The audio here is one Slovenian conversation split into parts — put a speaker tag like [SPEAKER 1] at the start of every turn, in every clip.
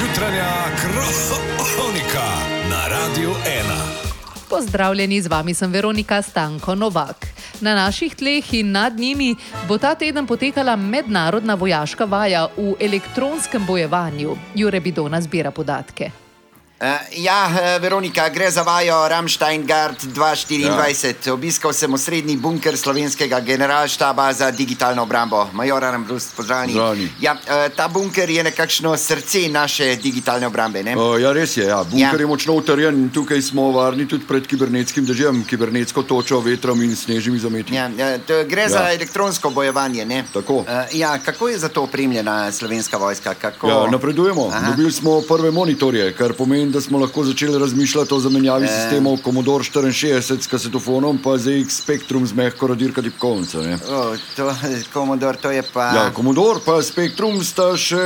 [SPEAKER 1] jutranja kronika na Radiu 1.
[SPEAKER 2] Pozdravljeni, z vami sem Veronika Stanko Novak. Na naših tleh in nad njimi bo ta teden potekala mednarodna vojaška vaja v elektronskem bojevanju. Jure Bidona zbira podatke.
[SPEAKER 3] Eh, Ja, eh, Veronika, gre za vajo Ramsteingard 2024. Ja. Obiskal sem osrednji bunker slovenskega generalštaba za digitalno obrambo, major Armbrust, pozdravljeni.
[SPEAKER 4] Pozdravljeni.
[SPEAKER 3] Ja, eh, ta bunker je nekakšno srce naše digitalne obrambe. Ne?
[SPEAKER 4] Uh, ja, res je. Ja. Bunker
[SPEAKER 3] Ja.
[SPEAKER 4] ja. je močno utrjen in tukaj smo varni tudi pred kibernetskim dežjem, kibernetsko točo, vetrom in snežnimi zameti.
[SPEAKER 3] Ja, ja, to gre ja. za
[SPEAKER 4] Ja.
[SPEAKER 3] elektronsko bojevanje. Ne?
[SPEAKER 4] Tako.
[SPEAKER 3] Eh, Ja, kako je za to opremljena slovenska vojska? Kako...
[SPEAKER 4] Ja, napredujemo.
[SPEAKER 3] Aha.
[SPEAKER 4] Aha. Dobili smo prve monitorje, kar pomeni, da smo lahko začeli razmišljati o zamenjavi e.
[SPEAKER 3] Ja.
[SPEAKER 4] sistemov Commodore 64 s kasetofonom, pa ZX Spectrum z mehko radirka tipkovnice. ne.
[SPEAKER 3] O, to, Komodor, to je pa.
[SPEAKER 4] Ja, Commodore pa Spectrum sta še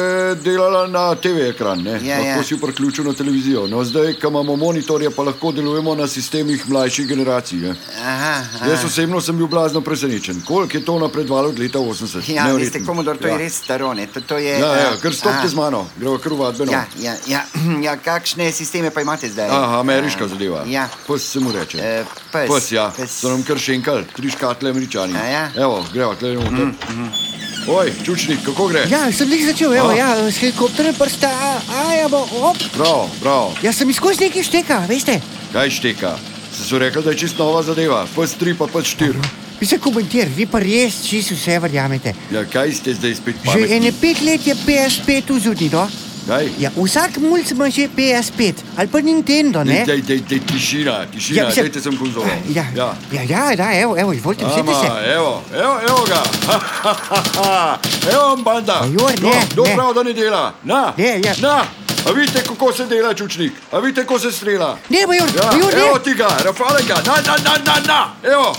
[SPEAKER 4] delala na TV ekran, ne?
[SPEAKER 3] Ja, ja.
[SPEAKER 4] lahko si jo priključil na televizijo. No, zdaj, ko imamo monitorje, pa lahko delujemo na sistemih mlajših generacij. Ne?
[SPEAKER 3] Aha, aha.
[SPEAKER 4] Jaz osebno sem bil blazno presenečen, koliko je to napredovalo od leta 80.
[SPEAKER 3] Ja,
[SPEAKER 4] Neverjetno.
[SPEAKER 3] veste, komodor, to ja. je res staro. ne, To, to je,
[SPEAKER 4] Ja, ja,
[SPEAKER 3] eh,
[SPEAKER 4] kar stopite
[SPEAKER 3] aha.
[SPEAKER 4] z mano, gremo kar v vadbeno.
[SPEAKER 3] Ja, ja, ja, ja, kakšne sisteme pa imate zdaj?
[SPEAKER 4] Aha, ameriška
[SPEAKER 3] A,
[SPEAKER 4] zadeva.
[SPEAKER 3] Ja.
[SPEAKER 4] Pes se mu reče.
[SPEAKER 3] E, pes,
[SPEAKER 4] pes, ja.
[SPEAKER 3] pes.
[SPEAKER 4] So nam kar šenkali, tri škatle američani.
[SPEAKER 3] A ja? Mhm,
[SPEAKER 4] Evo, greva, gledamo. Mm -hmm. Oj, čučnik, kako gre?
[SPEAKER 5] Ja, sem jih začel, evo,
[SPEAKER 4] A.
[SPEAKER 5] ja, s helikopterjem prsta, a, a ja, bo, op.
[SPEAKER 4] Bravo, bravo.
[SPEAKER 5] Jaz sem izkušnja nekaj šteka, veste.
[SPEAKER 4] Kaj šteka? Se so rekli, da je čist nova zadeva, pes 3 pa pes 4.
[SPEAKER 5] Vi se komentirate, vi pa res čisto vse verjamete.
[SPEAKER 4] Ja, kaj ste zdaj spet
[SPEAKER 5] Že
[SPEAKER 4] pametni?
[SPEAKER 5] ene pet let je PS5 v zudi, no?
[SPEAKER 4] Kaj?
[SPEAKER 5] Ja, vsak mulj ima že PS5 ali pa Nintendo,
[SPEAKER 4] Dej,
[SPEAKER 5] ne?
[SPEAKER 4] dej, dej, dej, tišina, tišina,
[SPEAKER 5] Ja,
[SPEAKER 4] ja,
[SPEAKER 5] mislim-
[SPEAKER 4] dajte sem konzolo.
[SPEAKER 5] Ja, ja, ja, da, evo, evo, izvolite, sedite se.
[SPEAKER 4] Ama, evo, evo, evo ga. evo vam banda.
[SPEAKER 5] A joj,
[SPEAKER 4] no,
[SPEAKER 5] ne,
[SPEAKER 4] kdo
[SPEAKER 5] ne.
[SPEAKER 4] prav, da ne dela? Na,
[SPEAKER 5] Ne, ja.
[SPEAKER 4] na. A vidite, kako se dela čučnik? A vidite, kako se strela?
[SPEAKER 5] Ne, major,
[SPEAKER 4] Ja,
[SPEAKER 5] major, ne.
[SPEAKER 4] evo ti ga, rafalega, na, na, na, na, na. Evo.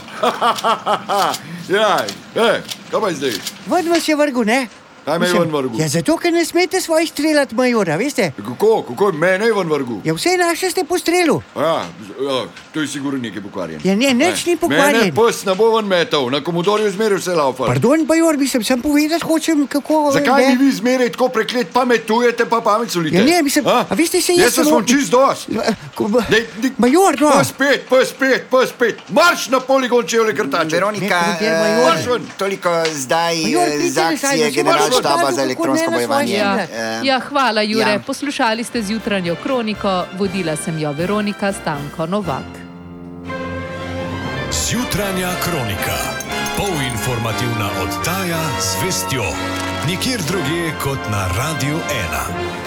[SPEAKER 4] ja, e, kaj pa je zdaj?
[SPEAKER 5] Ven vas je vrgu, ne?
[SPEAKER 4] Kaj me je
[SPEAKER 5] Mislim,
[SPEAKER 4] ven vrgel?
[SPEAKER 5] Ja, zato, ker ne smete svojih streljati, majora, veste.
[SPEAKER 4] Kako, kako je mene je ven vrgu?
[SPEAKER 5] Ja, vse naše ste postrelu.
[SPEAKER 4] Ja, z- ja, to je sigurno nekaj pokvarjen.
[SPEAKER 5] Ja, ne, nič
[SPEAKER 4] E,
[SPEAKER 5] ni pokvarjen.
[SPEAKER 4] Mene pes ne bo ven metal, na komodorju zmeraj vse laufa.
[SPEAKER 5] Pardon, major, mislim, sem povedal, hočem kako.
[SPEAKER 4] Zakaj
[SPEAKER 5] ne?
[SPEAKER 4] mi vi zmeraj tako preklet pametujete, pa pamet solite?
[SPEAKER 5] Ja, ne, mislim, a veste, se jaz
[SPEAKER 4] Jaz sem
[SPEAKER 5] samo-
[SPEAKER 4] vam čist dost.
[SPEAKER 5] Ma- ko bo-
[SPEAKER 4] Dej, dej,
[SPEAKER 5] Major, no.
[SPEAKER 4] Pa spet, pa spet, pa spet. Marš na poligon, če jo le krtače.
[SPEAKER 3] Veronika,
[SPEAKER 5] Ne, kjer
[SPEAKER 3] eh,
[SPEAKER 5] major.
[SPEAKER 4] Marš ven.
[SPEAKER 3] toliko zdaj
[SPEAKER 5] Major,
[SPEAKER 3] eh,
[SPEAKER 5] pridite
[SPEAKER 3] z
[SPEAKER 5] nazaj, da
[SPEAKER 3] akcije
[SPEAKER 5] se bomo
[SPEAKER 3] generalštaba
[SPEAKER 5] razpadli,
[SPEAKER 3] za
[SPEAKER 5] kako
[SPEAKER 3] elektronsko
[SPEAKER 5] ne na svoje
[SPEAKER 3] bojevanje.
[SPEAKER 2] Ja,
[SPEAKER 3] Eh,
[SPEAKER 2] ja, hvala, Jure.
[SPEAKER 3] ja.
[SPEAKER 2] Poslušali ste z jutranjo kroniko, vodila sem jo Veronika Stanko Novak.
[SPEAKER 1] Zjutranja kronika. Polinformativna oddaja z vestjo. Nikjer drugje kot na Radiu 1.